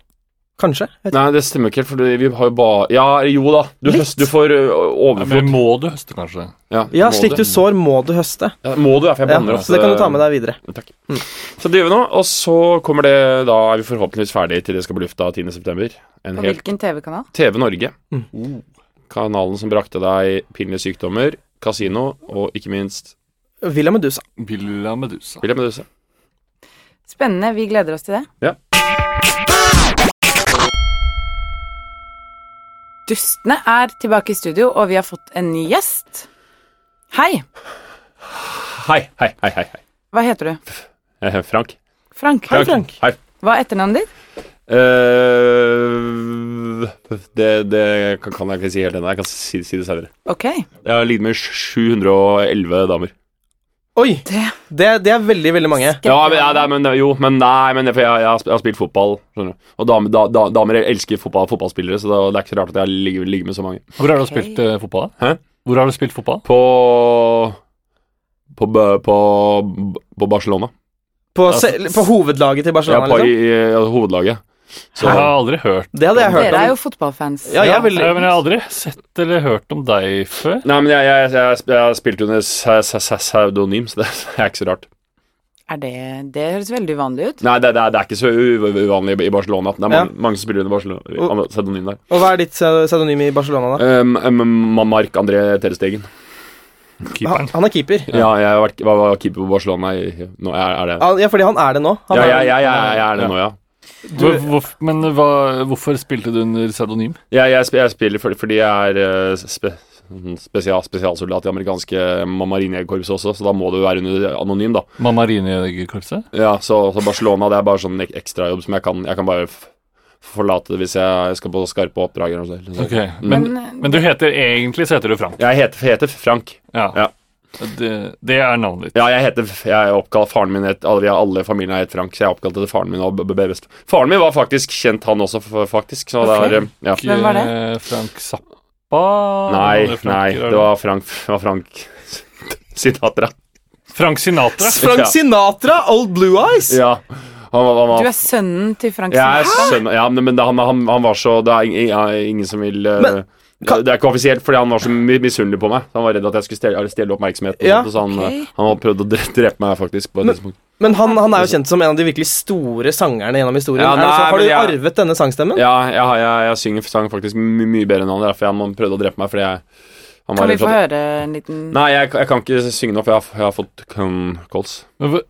Kanskje? Jeg vet ikke. Nei, det stemmer ikke helt, for vi har jo bare Ja, jo da. Du, Litt. høst, du får ø, Men overflod. må du høste, kanskje? Ja, Ja, må slik du. du sår, må du høste. Ja, må du, ja, for jeg eh, Ja, banner så det kan du ta med deg videre. Takk. Så det gjør vi nå, og så kommer det Da er vi forhåpentligvis ferdig til det skal bli lufta 10.9. En På helt hvilken TV-kanal? TV Norge. Uh. Mm. Kanalen som brakte deg pinlige sykdommer, kasino og ikke minst Villa Medusa. Villa Medusa. William Medusa. Spennende. Vi gleder oss til det. Ja. Dustene er tilbake i studio, og vi har fått en ny gjest. Hei. Hei, hei, hei, hei. hei. Hva heter du? Eh, Frank. Frank. Hei. Hva er etternavnet ditt? Eh, det, det kan, kan jeg ikke si helt ennå. Jeg kan si, si det senere. Ok. Jeg har ligget med 711 damer. Oi! Det Det, det er veldig, veldig mange. Ja, men, ja, nei, men, jo, men nei, men for jeg, jeg, har sp- jeg har spilt fotball. Skjønner du. Og damer, da, da, damer elsker fotball, fotballspillere, så da, det er ikke så rart at jeg ligger, ligger med så mange. Hvor har du spilt eh, fotball? da? Hæ? Hvor har du spilt fotball? På på, Bø- på, på Barcelona. På, se- på hovedlaget til Ja, Barcelona, på, liksom. i, i hovedlaget. Så Jeg har aldri hørt Det hadde jeg hørt Dere er om. jo fotballfans. Ja, jeg er veldig Ja, men jeg har aldri sett eller hørt om deg før. Nei, men jeg, jeg, jeg, jeg spilte under sa- sa- sa- pseudonym, så det er ikke så rart. Er det, det høres veldig uvanlig ut. Nei, det, det, er, det er ikke så u- u- uvanlig i Barcelona. Det er mange, Ja. mange som spiller under Barcelona. Og- Pseudonym der. Og hva er ditt pse- pseudonym i Barcelona, da? Um, um, Mark André Terstegen. Keeperen. Han, han er keeper. Ja, jeg har vært, var, var keeper på Barcelona i Nå er, er det Han, ja, fordi han er det nå. Han Ja, er- jeg, jeg, jeg, jeg er det nå, ja. Hvor, hvor, men hva, hvorfor spilte du under pseudonym? Jeg, jeg, sp- jeg spiller fordi, fordi jeg er eh, spe, spesial, spesialsoldat i amerikanske marinekorpset også, så da må du være under anonym, da. Mamarinejegerkorpset? Ja, så, så Barcelona det er bare sånn ek- ekstrajobb som jeg kan Jeg kan bare f forlate hvis jeg skal på skarpe oppdrag. Eller noe sånt. Ok, men, Men- men du heter egentlig så heter du Frank. Jeg heter, heter Frank. Ja. Ja. Det, det er navnet ditt. Ja, jeg heter jeg er oppkalt, Faren min het, alle, vi har- alle i familien har hett Frank, så jeg er oppkalt etter faren min. og b- b- best. Faren min var faktisk kjent, han også, f- faktisk. Så Ok. det er, ja. Hvem var det? Eh, Frank Zappa? Nei, Alle Franker nei, er det var Frank, det var Frank Sinatra. Frank Sinatra. Ja. Frank Sinatra, Old Blue Eyes! Ja, han, var- han Du var... er sønnen til Frank Jeg er Sinatra. sønn, ja, men men han, han, han var så Det er ing- ing- ingen som vil eh, Men, kan- Det er ikke offisielt, fordi han var så mi- misunnelig på meg. Han var redd at jeg skulle stjele, stjele oppmerksomheten. og Ja. sånt, Så han, Ok. eh, han prøvde å dre- drepe meg, faktisk. På et Men- tidspunkt. Men han, han er jo kjent som en av de virkelig store sangerne gjennom historien. Ja, Er det nei, så, har du men jeg- arvet denne sangstemmen? Ja, jeg, har- jeg, jeg synger sang faktisk my mye bedre enn han. Det er derfor han, han prøvde å drepe meg. Fordi jeg han var Kan vi redd for få at- høre en liten Nei, jeg, jeg kan ikke synge den opp. Jeg har, jeg har fått um, calls. Men hvor-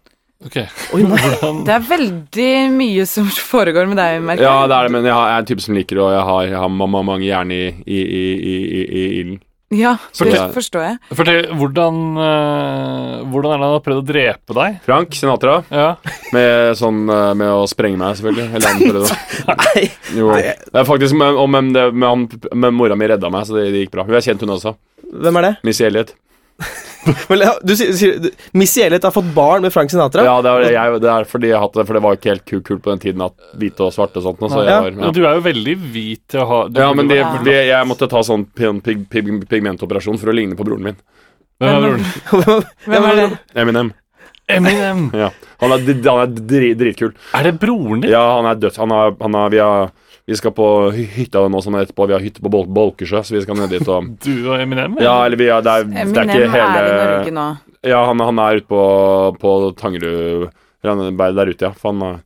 Ok. Oi, nei. Hvordan Det er veldig mye som foregår med deg, merker Ja, det er det, men jeg, har, jeg er en type som liker det, og jeg har, jeg har ma- ma- mange jern i, i, i, i, i, i ilden. Ja, det Fortell. forstår jeg. Fortell, hvordan, eh, hvordan er det han har prøvd å drepe deg? Frank Sinatra Ja. med, sånn, eh, med å sprenge meg, selvfølgelig. Eller han prøvde å- Nei. Jo. Det er faktisk med, om, om det, med, han, med mora mi redda meg, så det, det gikk bra. Hun er kjent, hun også. Hvem er det? Missy Elliot. Vel, ja, du sier, sier du- Missy Elliot har fått barn med Frank Sinatra? Ja, det er, jeg, det er fordi jeg har hatt det, for det var ikke helt ku- kult på den tiden at hvite og svarte og sånt. nå, Så jeg Ja. var, Men ja. du er jo veldig hvit til å ha du ja, men det, burde- det, jeg måtte ta sånn pig, pig, pig, pigmentoperasjon for å ligne på broren min. Hvem er broren? Hvem er det? Eminem. Eminem. Ja. Han er, dri- han er dri, dritkul. Er det broren din? Ja, han er dødt. Han er, han er, vi, har- vi skal på hy- hytta nå sånn etterpå. Vi har hytte på Bol Bolkesjø, så vi skal ned dit og Du og Eminem? eller? Ja, eller vi er, det, er, det er Eminem ikke Eh, er i Norge hele nå. Ja, han, han er ute på, på Tangerud Han er der ute, ja. For han er-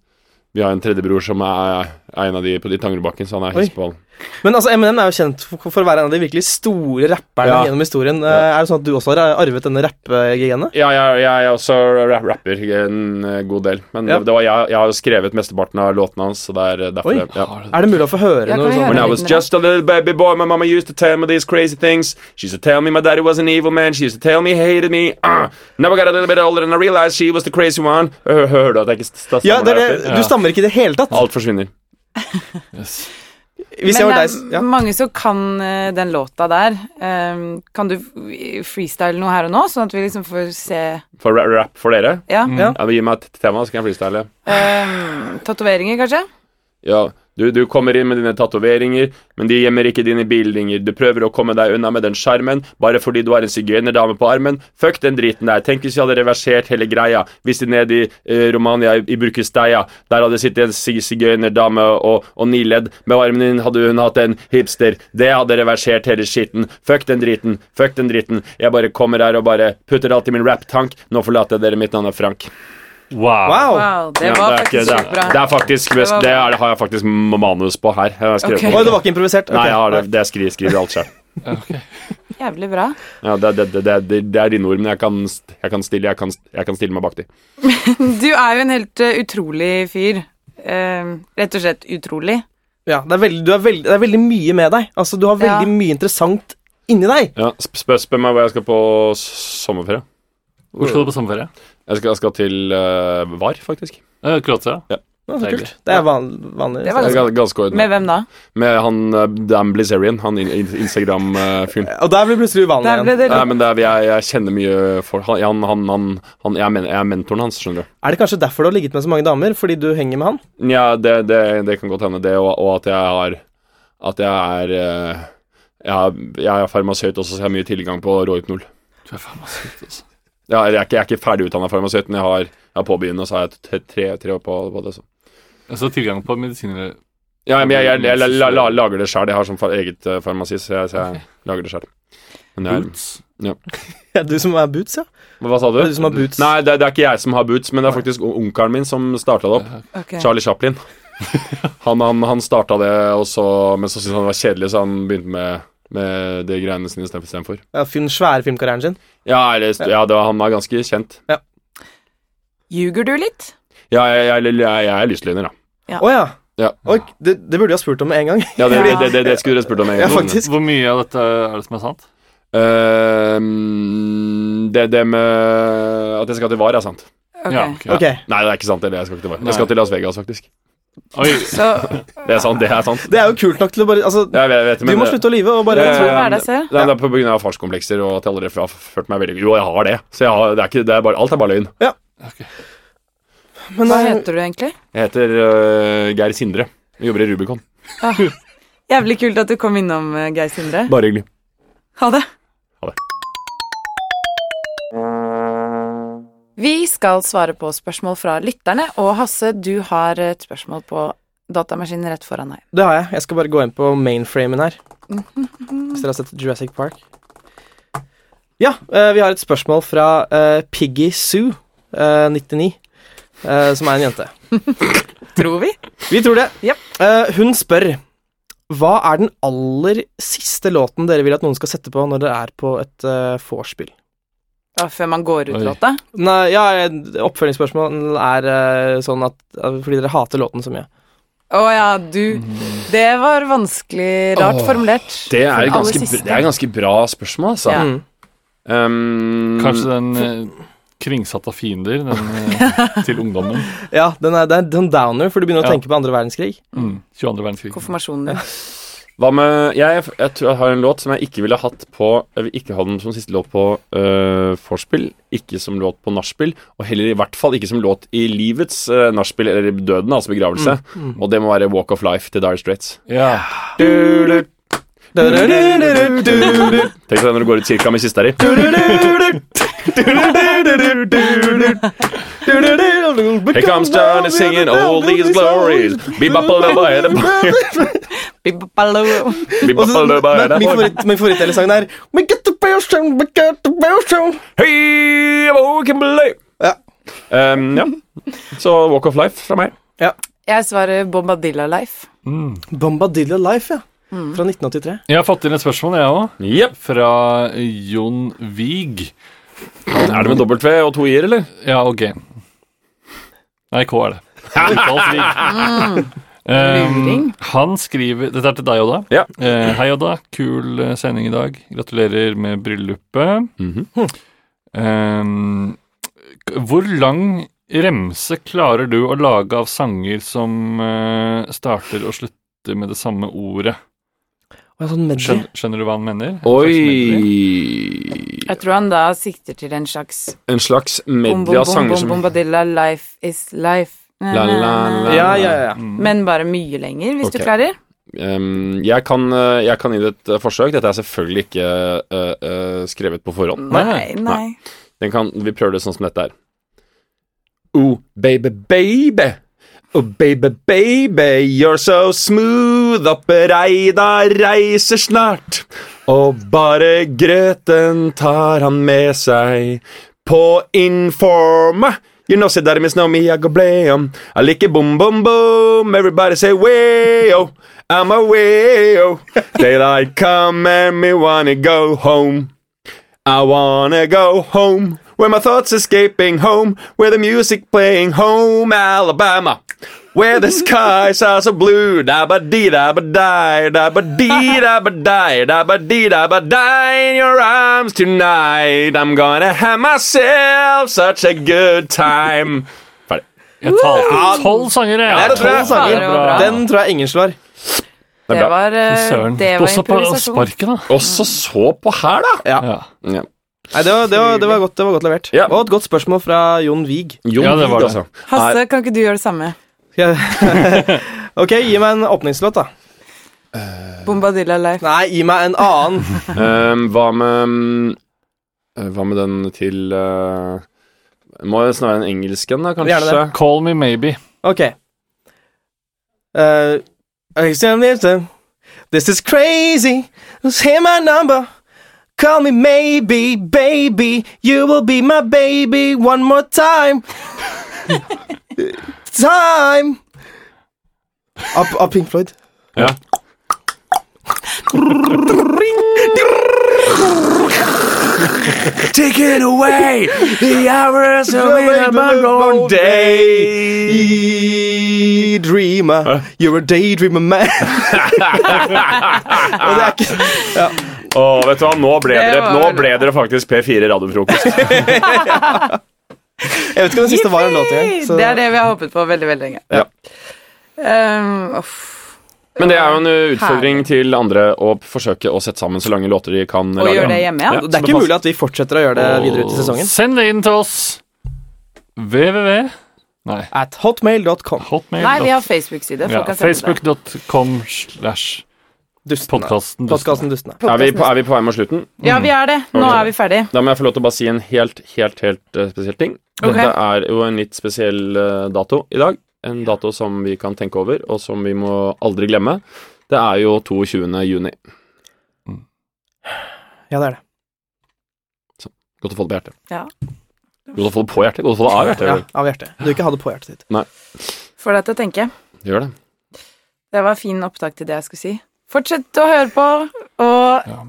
vi har en tredjebror som er, er en av de på de Tangerudbakken, så han er Oi. hiss på han. Men altså, Eminem er jo kjent for, for å være en av de virkelig store rapperne Ja. gjennom historien. Eh, Er det sånn at du også har arvet denne rapp-genet? Ja, jeg, jeg er også ra- rapper en eh, god del. Men Ja. det, det var, jeg, jeg har jo skrevet mesteparten av låtene hans, så det er eh, derfor Oi. det- ja. Har det- Er det mulig å få høre Ja, noe kan sånn? vi sånt? høre? When I Right, was right. just a little baby boy, my mama used to tell me these crazy things. She used to tell me my daddy was an evil man. She used to tell me he hated me. Uh. Now I got a little bit older and I realized she was the crazy one. Hø- Hører du at jeg ikke st- stammer Ja, det er der det. etter? Du stammer ikke i det hele tatt. Alt forsvinner. Yes. Hvis jeg Men var det deg s- er ja. mange som kan eh, den låta der. Eh, kan du f- freestyle noe her og nå, sånn at vi liksom får se For ra- rap for dere? Ja. Ja. Ja, men Gi meg et tema, så kan jeg freestyle. eh, Tatoveringer, kanskje? Ja, du, du kommer inn med dine tatoveringer, men de gjemmer ikke dine bildinger. Du prøver å komme deg unna med den skjermen, bare fordi du har en sigøynerdame på armen. Fuck den driten der. Tenk hvis vi hadde reversert hele greia. Hvis de nede i eh, Romania, i, i Burkesteia, der hadde det sittet en sig sigøynerdame og, og niledd. Med armen din hadde hun hatt en hipster. Det hadde reversert hele skitten. Fuck den driten. Fuck den driten. Jeg bare kommer her og bare putter alt i min rap-tank. Nå forlater jeg dere. Mitt navn er Frank. Wow. Wow. Wow, det var Ja, det, er ikke, faktisk det, sykt er, bra. det er faktisk best, var det, bra. er, har jeg faktisk manus på her. Jeg har skrevet Ok. på. Oi, det var ikke improvisert? Ok. Nei, jeg har det, det skriver, skriver alt selv. Jævlig bra. Ja, det, det, det, det, det er dine ord, men jeg kan, st- jeg kan, stille, jeg kan, st- jeg kan stille meg bak de. Du er jo en helt eh, utrolig fyr. Eh, rett og slett utrolig. Ja, det, er veldig, du er veldig, det er veldig mye med deg. Altså, Du har Ja. veldig mye interessant inni deg. Ja, sp- spør, spør meg hvor jeg skal på s- sommerferie. Hvor skal du på sommerferie? Jeg skal, jeg skal til eh, VAR, faktisk. Eh, Kroatia. Ja, så Deilig. kult. Det er van, vanlig. Det var Det er gans- ganske Med ordentlig. hvem da? Med han eh, Dan Blizzerian, han in- in- Instagram-fyren. Og der blir det plutselig uvanlig Der ble igjen. det Nei, men det er, jeg, jeg kjenner mye folk. Han, han, han, han, han, jeg, men, jeg er mentoren hans, skjønner du. Er det kanskje derfor du har ligget med så mange damer? Fordi du henger med han? Ja, det, det, det kan godt hende, det, og, og at jeg har At jeg er eh, jeg, er- jeg er farmasøyt også, så jeg har mye tilgang på Rohypnol. Du er faen meg søt, altså. Ja, eller jeg, er ikke, jeg er ikke ferdig utdanna farmasøyt, men jeg har jeg er påbegynnende, og så har jeg t- tre, tre år på, på det. Så. Altså tilgang på medisiner Ja, men jeg, jeg, jeg, la- la- la- lager det sjøl. Jeg har sånn fa- eget eh, farmasi, så jeg, så jeg lager det sjøl. Men det er, Boots. Ja, du som er boots, ja. hva hva sa du? Det er du som har boots. Nei, det, det er ikke jeg som har boots, men det er faktisk o- onkelen min som starta det opp. Eh, Ok. Charlie Chaplin. Han, han, han starta det, og så, men så syntes han det var kjedelig, så han begynte med, med de greiene sine istedenfor. Ja, fin- svære filmkarrieren sin. Ja, eller, ja det var, han er ganske kjent. Ljuger du litt? Ja, jeg, jeg, jeg, jeg er lystløgner, da. Å ja. Ja. Oi, det, det burde du ha spurt om med en gang. Ja, det, det, Ja. det, det, skulle dere spurt om en Ja, gang. faktisk. Hvor mye av dette er det som er sant? Ehm, det, det med at jeg skal til VAR, er sant. Ok. Ja, ok. Ok. Nei, det er ikke sant. Eller jeg skal ikke til VAR. Nei. Jeg skal til Las Vegas, faktisk. Oi, Så Det er sant. det er sant Det er jo kult nok til å bare Altså, Jeg vet, jeg vet, du må slutte å lyve og bare Ja, ja, prøv ja. å være deg selv. Nei, det er på grunn av farskomplekser og at jeg aldri har følt meg veldig Jo, jeg har det. Så jeg har, det er ikke, det er bare, alt er bare løgn. Men Hva eh, heter du egentlig? Jeg heter øh, Geir Sindre. Jeg jobber i Rubicon. Ah, Jævlig kult at du kom innom, eh, Geir Sindre. Bare hyggelig. Ha det. Ha det. Vi skal svare på spørsmål fra lytterne, og Hasse, du har et spørsmål på datamaskinen rett foran deg. det har jeg. Jeg skal bare gå inn på mainframen her. Hvis dere har sett Jurassic Park. Ja, eh, vi har et spørsmål fra eh, Piggy Sue, eh, 99, eh, som er en jente. Tror vi? Vi tror det. Japp. Eh, hun spør Hva er den aller siste låten dere vil at noen skal sette på når dere er på et eh, vorspiel? Ja, før man går ut Oi. låta? Nei, ja, eh, oppfølgingsspørsmålet er eh, sånn at eh, Fordi dere hater låten så mye. Å ja, du. Det var vanskelig Rart Åh, formulert. Det er, et Aller ganske, siste. det er et ganske bra spørsmål, altså. Ja. Mm. Um, Kanskje den eh, kringsatt av fiender den, eh, til ungdommen. Ja, den er, det er en downer, for du begynner å Ja. tenke på andre verdenskrig. Mm. 22. verdenskrig. Konfirmasjonen din. Hva med jeg, jeg tror jeg har en låt som jeg ikke ville hatt på Jeg vil ikke ha den som siste låt på øh, vorspiel, ikke som låt på nachspiel, og heller i hvert fall ikke som låt i livets øh, nachspiel, eller døden, altså begravelse. Og det må være Walk of Life til Dire Straits. Ja. Tenk deg når du går ut kirka med kista di. Here comes John and singing all these glories. Bibapalabaya, Bibbaloo. Og så- bibapalabaya. Nei, Min favoritt- min favorittdel i sangen er We get the bell show, we get the bell show. Hey, oh, Kimberley. Ja. Um, ja. Så Walk of Life fra meg. Jeg svarer Bombadilla Life. Mm. Bombadilla Life, ja. Mm. Fra 1983. Jeg har fått inn et spørsmål, jeg òg. Jepp. Fra Jon Wiig. Er det med dobbelt V og to i-er, eller? Ja, og G. Nei, K er det. Uttalt Wiig. Mm. Luring. han skriver Dette er til deg, Odda. Ja. Eh, hei, Odda. Kul eh, sending i dag. Gratulerer med bryllupet. Mhm. Ehm, k- hvor lang remse klarer du å lage av sanger som eh, starter og slutter med det samme ordet? Og en sånn medley. Skjønner, skjønner du hva han mener? Oi Jeg tror han da sikter til en slags En slags bom, bom, medley av bom, sanger bom, som Bombadilla Life is life. Na, La, la, na, na. la. Ja, ja, ja. Mm. Men bare mye lenger, hvis Ok. du klarer. um, jeg, kan, eh, jeg kan gi det et eh, forsøk. Dette er selvfølgelig ikke eh, eh, skrevet på forhånd. Nei, nei. Den kan, vi prøver det sånn som dette er. Oh, baby, baby. Oh, baby, baby, you're so smooth. Oppereida reiser snart. Og bare grøten tar han med seg. På informa. You know, say that I miss no me, I go blam. I like it boom, boom, boom. Everybody say way-o. I'm a way-o. Daylight come and me wanna go home. I wanna go home, where my thoughts escaping home, where the music playing home, Alabama. Where the skies are so blue, da ba dee da ba die, da ba dee da ba die, da ba dee da ba die in your arms tonight. I'm gonna have myself such a good time. Ferdig. Jeg talte tolv sanger, jeg. det tror jeg. Tolv sanger. Ja, det var bra. Den tror jeg ingen slår. Det Det er bra. var, eh, Søren. det var Også på improvisasjon. sparket, da. Og så så på her, da. Ja. Ja. Nei, det var, det var, det var, godt, det var godt levert. Ja. Og et godt spørsmål fra Jon Wiig. Jon Ja, det Wiig, var det. altså. Hasse, kan ikke du gjøre det samme? Skal jeg- ok, gi meg en åpningslåt, da. Bombadilla Life. Eh. Nei, gi meg en annen. Ehm, hva med mm, eh, Hva med den til eh, Må jo snarere en engelsk en, da, kanskje? Gjerne det. Call me maybe. Ok. Eh, I still need to- this is crazy. Just hear my number. Call me maybe, baby. You will be my baby one more time. time. Av av Pink Floyd. Ja. Taking away the hours of a long day. Daydreamer. You're a daydreamer man. Og det er ikke ja. Åh, vet du hva, nå ble, Det dere, var- nå ble dere faktisk P4 radiofrokost. Jeg vet ikke om den siste var en låt engang. så- Det er det vi har håpet på veldig, veldig lenge. Ja. Ehm, uff. Men det er jo en uh, utfordring til andre å p- forsøke å sette sammen så lange låter de kan Og gjøre det hjemme, ja. Det er ikke mulig at vi fortsetter å gjøre det videre ut i sesongen. Send det inn til oss. www. Nei, At hotmail.com. hotmail. Nei, vi har Facebook-side. ja, Folk kan sende det. Facebook.com slash Dustene. podkasten. Podkasten Dustene. Er vi, på, er vi på vei mot slutten? Ja, vi er det. Nå Ok. er vi ferdig. Da må jeg få lov til å bare si en helt, helt, helt eh, spesiell ting. Ok. Dette er jo en litt spesiell eh, dato i dag. En dato som vi kan tenke over, og som vi må aldri glemme. Det er jo 22. juni. Ja, det er det. Godt å få det på hjertet. Ja. Godt å få det på hjertet. Godt å få det av hjertet. Ja, av hjertet. Du ikke ha det på hjertet ditt. Får deg til å tenke. Gjør det. Det var fin opptak til det jeg skulle si. Fortsett å høre på, og Ja.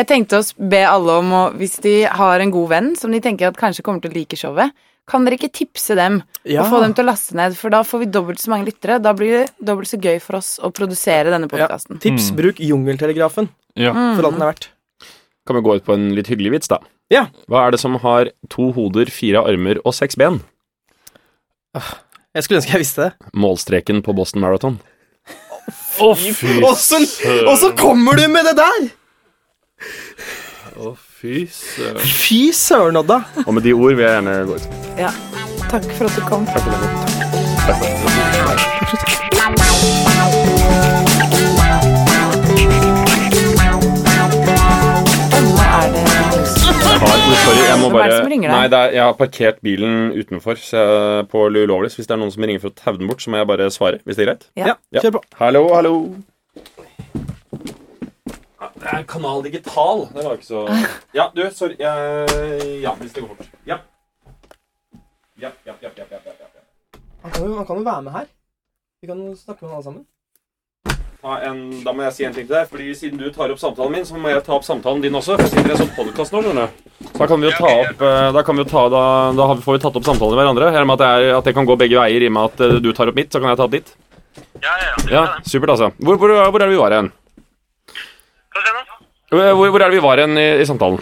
jeg tenkte å be alle om å, hvis de har en god venn som de tenker at kanskje kommer til å like showet, Kan dere ikke tipse dem Ja. og få dem til å laste ned? For da får vi dobbelt så mange lyttere. Da blir det dobbelt så gøy for oss å produsere denne podkasten. Tips, Mm. bruk jungeltelegrafen Ja. for alt den er verdt. Kan vi gå ut på en litt hyggelig vits, da? Ja. Hva er det som har to hoder, fire armer og seks ben? Jeg skulle ønske jeg visste det. Målstreken på Boston Marathon. Å, fy Og så- og så kommer du med det der! Å, fy søren. Fy søren, Odda. Og med de ord vil jeg gjerne gå ut. Ja. Takk for at du kom. Hva er det Nei, Sorry, jeg Hvem må er bare det som ringer deg? Nei, det er, jeg har parkert bilen utenfor så jeg, på ulovlig. så Hvis det er noen som ringer for å taue den bort, så må jeg bare svare. Hvis det er greit? Ja. Ja, kjør på. Hallo, hallo. Ah, Det er Kanal Digital. Det var ikke så Ah. Ja, du, sorry. Jeg... Ja, hvis det går fort. Ja. Ja, ja, ja, ja, ja, ja, ja. Man kan, jo, man kan jo være med her. Vi kan jo snakke med alle sammen. Ta en, da må jeg si en ting til deg, fordi siden du tar opp samtalen min, så må jeg ta opp samtalen din også. For jeg sitter i en sånn podcast nå, skjønner du. Så da kan vi jo ta opp eh, Da, kan vi jo ta, da, da har vi- får vi tatt opp samtalen med hverandre. Her med at, jeg, at det kan gå begge veier, i og med at eh, du tar opp mitt, så kan jeg ta opp ditt. Ja, ja, ja. Supert, altså. Hvor, hvor, hvor er det vi var hen? Hvor, hvor hvor er det vi var hen i, i samtalen?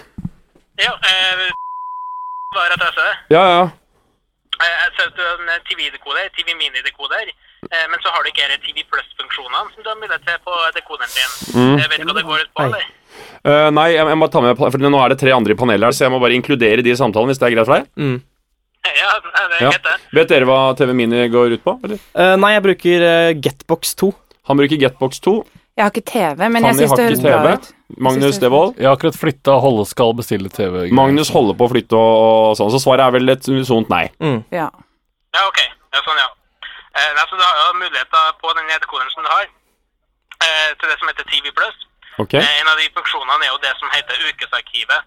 Ja, eh, var at jeg sa det. Ja, ja. altså? Eh, Jeg sa at du har en TV-dekoder, TV-mini-dekoder, eh, men så har du ikke disse TV Plus-funksjonene som du har mulighet til på dekoderen din. Jeg vet ikke hva det går ut på, eller? Eh, nei, jeg, jeg må ta med For nå er det tre andre i panelet her, så jeg må bare inkludere de i samtalen, hvis det er greit for deg? Mm. Ja, nei, det er Ja. greit, det. Vet dere hva TV Mini går ut på? Eller? Eh, nei, jeg bruker eh, Getbox 2. Han bruker Getbox 2. Jeg har ikke TV, men jeg Fanny syns har det ikke høres bra TV. ut. Magnus Synes det er Devold. Jeg har akkurat flytta Holle skal bestille TV. Magnus holder på å flytte og og sånn, så svaret er vel et unisont nei. Ja. Ja, ok. Ja, sånn, ja. Eh, nei, så du har jo muligheter på den dekoderen som du har, eh, til det som heter TV Plus. Ok? Eh, En av de funksjonene er jo det som heter ukesarkivet,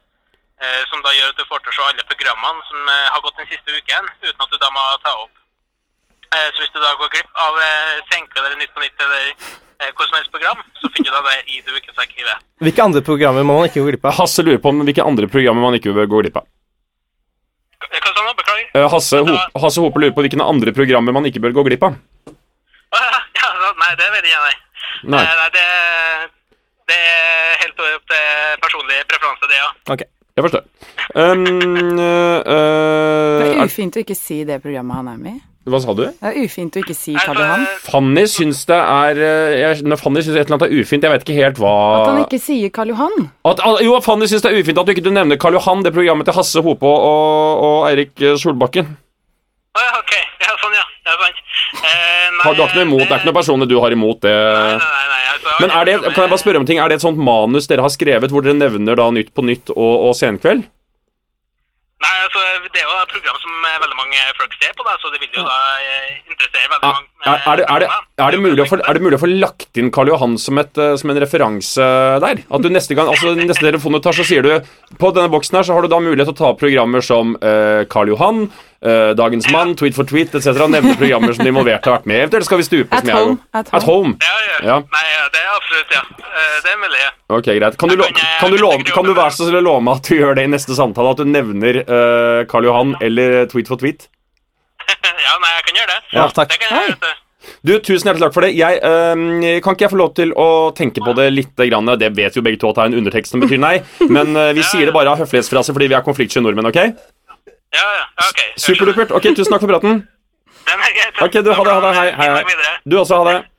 eh, som da gjør at du får til å se alle programmene som eh, har gått den siste uken, uten at du da må ta opp. Eh, Så hvis du da går glipp av eh, Senkveld eller Nytt på Nytt eller eh, hvor som helst program, så finner du da det i det ukesarkivet. Hvilke andre programmer må man ikke gå glipp av? Hasse lurer på om hvilke andre programmer man ikke bør gå glipp av. Eh, Hva sa du nå? Beklager. Eh, Hasse, Ho- Hasse Hope lurer på hvilke andre programmer man ikke bør gå glipp av. Ja, da- nei, det vet jeg ikke. nei. Nei. Eh, Nei, det, det er helt opp til personlige preferanser, det, ja. Ok. Jeg forstår. Um, eh, Det eh, er er, ufint å ikke si det programmet han er med i. hva sa du? Det er ufint å ikke si Nei, Karl så- Johan. Fanny syns det er eh, jeg, Når Fanny syns et eller annet er ufint, jeg vet ikke helt hva At han ikke sier Karl Johan. At, ah, jo, Fanny syns det er ufint at du ikke nevner Karl Johan, det programmet til Hasse Hope og, og, og Eirik eh, Solbakken. Å, ja, ok. Ja, sånn, ja. Det er sant. Eh, nei, Har du har ikke noe imot, det er ikke noe personlig du har imot det? Nei, nei, nei, altså, Men er det, kan jeg bare spørre om en ting? Er det et sånt manus dere har skrevet hvor dere nevner da Nytt på Nytt og, og Senkveld? Nei, altså, det er jo et program som eh, veldig mange folk ser på, da, så det vil jo da eh, interessere veldig Er, mange. eh, er, er, det, er, det, er, det mulig å få, er det mulig å få lagt inn Karl Johan som, et, eh, som en referanse der? At du neste gang, altså neste telefon du tar, så sier du På denne boksen her så har du da mulighet til å ta opp programmer som eh, Karl Johan, eh, Dagens Mann, Tweet for tweet etc. Nevne programmer som de involverte har vært med i. Eventuelt skal vi stupe At som jeg er jo. home, at home. At home. Ja, ja. Ja. Nei, ja, det er absolutt, ja. Eh, Det er mulig, ja. Ok, greit. Kan du, lo kan du, love, kan du være så snill å love meg at du gjør det i neste samtale? At du nevner eh, Karl Johan eller Tweet for tweet? ja, nei, jeg kan gjøre det. Ja, takk. Det kan jeg gjøre, vet du. Du, Tusen hjertelig takk for det. Jeg, øhm, kan ikke jeg få lov til å tenke på det litt? Grann? Det vet jo begge to at det er en undertekst som betyr nei, men øh, vi sier det bare av høflighetsfrase fordi vi er konfliktsky nordmenn, OK? Ja, ja, ja, ok. Superdupert. Ok, tusen takk for praten. Den er greit. Ok, du, ha det, ha det, hei, hei, hei. Videre. Du også, ha det.